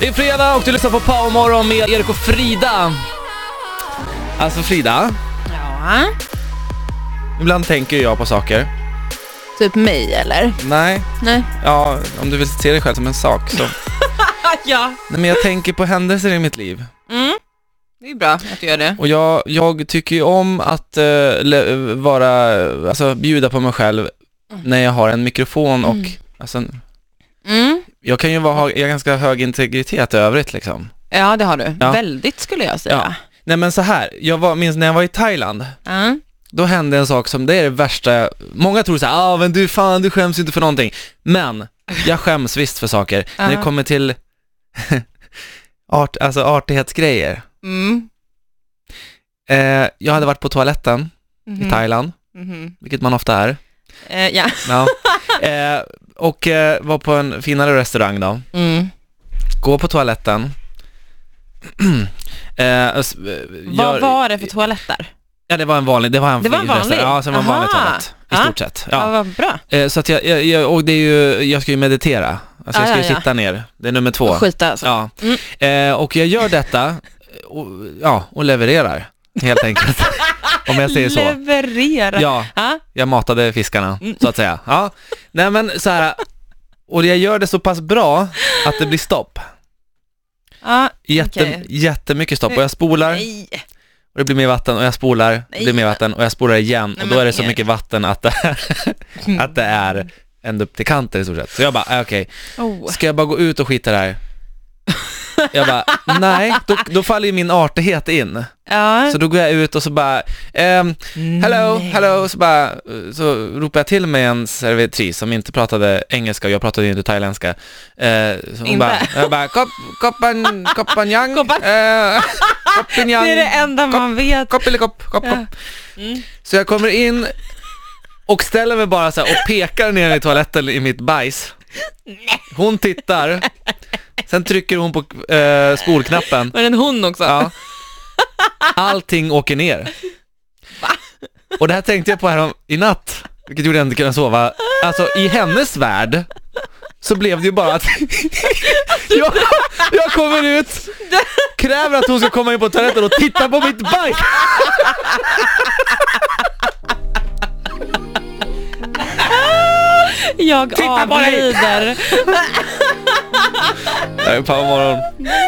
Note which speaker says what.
Speaker 1: Det är fredag och du lyssnar på Powermorgon med Erik och Frida. Alltså Frida,
Speaker 2: Ja.
Speaker 1: ibland tänker jag på saker.
Speaker 2: Typ mig eller?
Speaker 1: Nej,
Speaker 2: Nej.
Speaker 1: ja, om du vill se dig själv som en sak så.
Speaker 2: Ah, ja.
Speaker 1: Nej men jag tänker på händelser i mitt liv.
Speaker 2: Mm. Det är bra att du gör det.
Speaker 1: Och jag, jag tycker ju om att eh, le- vara, alltså bjuda på mig själv när jag har en mikrofon och,
Speaker 2: Mm.
Speaker 1: alltså,
Speaker 2: Mm.
Speaker 1: jag kan ju vara, ha, jag har ganska hög integritet i övrigt liksom.
Speaker 2: Ja, det har du.
Speaker 1: Ja.
Speaker 2: Väldigt skulle jag säga.
Speaker 1: Nej men så här, jag var, minns när jag var i Thailand,
Speaker 2: Mm.
Speaker 1: då hände en sak som, det är det värsta, många tror så här, ah, men du fan du skäms ju inte för någonting, men jag skäms visst för saker, när det
Speaker 2: Ja.
Speaker 1: kommer till art, alltså artighetsgrejer.
Speaker 2: Mm.
Speaker 1: Eh, jag hade varit på toaletten
Speaker 2: Mhm.
Speaker 1: i Thailand,
Speaker 2: Mhm.
Speaker 1: vilket man ofta är,
Speaker 2: Eh, ja.
Speaker 1: ja. eh, och eh, var på en finare restaurang då,
Speaker 2: Mm.
Speaker 1: gå på toaletten, eh, s- gör-
Speaker 2: Vad var det för toalett där?
Speaker 1: Ja det var en vanlig, det var en,
Speaker 2: Det var en vanlig?
Speaker 1: Ja, så det var en vanlig
Speaker 2: Aha.
Speaker 1: toalett, i
Speaker 2: Ja.
Speaker 1: stort sett.
Speaker 2: Ja, vad bra.
Speaker 1: Eh, Så att jag, jag, jag, och det är ju, jag ska ju meditera. Alltså jag
Speaker 2: Ja,
Speaker 1: ska ju
Speaker 2: Ah, ja, ja.
Speaker 1: sitta ner. Det är nummer två.
Speaker 2: Skita alltså.
Speaker 1: Ja. Eh, och jag gör detta, och, ja, och levererar. Helt enkelt. Om jag säger så.
Speaker 2: Leverera.
Speaker 1: Ja,
Speaker 2: Ja.
Speaker 1: jag matade fiskarna,
Speaker 2: Mm.
Speaker 1: så att säga. Ja. Nej men så här, och jag gör det så pass bra att det blir stopp.
Speaker 2: Ja.
Speaker 1: Jätte,
Speaker 2: Okej.
Speaker 1: Jättemycket stopp. Och jag spolar,
Speaker 2: Nej.
Speaker 1: och det blir mer vatten, och jag spolar, och det blir
Speaker 2: Nej.
Speaker 1: mer vatten, och jag spolar igen.
Speaker 2: Nej,
Speaker 1: Och
Speaker 2: men
Speaker 1: då är det så
Speaker 2: Erik.
Speaker 1: mycket vatten att det, att det är ända upp till kanten i stort sett. Så jag bara, äh, okej.
Speaker 2: Oh.
Speaker 1: ska jag bara gå ut och skita där? Jag bara, nej, då, då faller ju min artighet in.
Speaker 2: Ja.
Speaker 1: Så då går jag ut och så bara, ehm, hello,
Speaker 2: Nej.
Speaker 1: hello, så bara, eh, så ropar jag till mig en servitris som inte pratade engelska och jag pratade ju inte thailändska. Eh, så hon
Speaker 2: Inte.
Speaker 1: bara, jag bara, kop, kopan, kopan yang,
Speaker 2: Kopan.
Speaker 1: eh, kopan
Speaker 2: Det är det
Speaker 1: yang,
Speaker 2: enda man vet.
Speaker 1: kopp eller kopp, kopp,
Speaker 2: Ja.
Speaker 1: kopp. Så jag kommer in och ställer mig bara så här och pekar ner i toaletten i mitt bajs. Hon tittar, sen trycker hon på eh, spolknappen.
Speaker 2: Var det en hon också?
Speaker 1: Ja. Allting åker ner. Och det här tänkte jag på härom i natt, vilket gjorde jag inte kunde sova. Alltså i hennes värld så blev det ju bara att jag, jag kommer ut, kräver att hon ska komma in på toaletten och titta på mitt bajs.
Speaker 2: Jag
Speaker 1: Titta på dig!
Speaker 2: avlider.
Speaker 1: Det här är Power Morgon.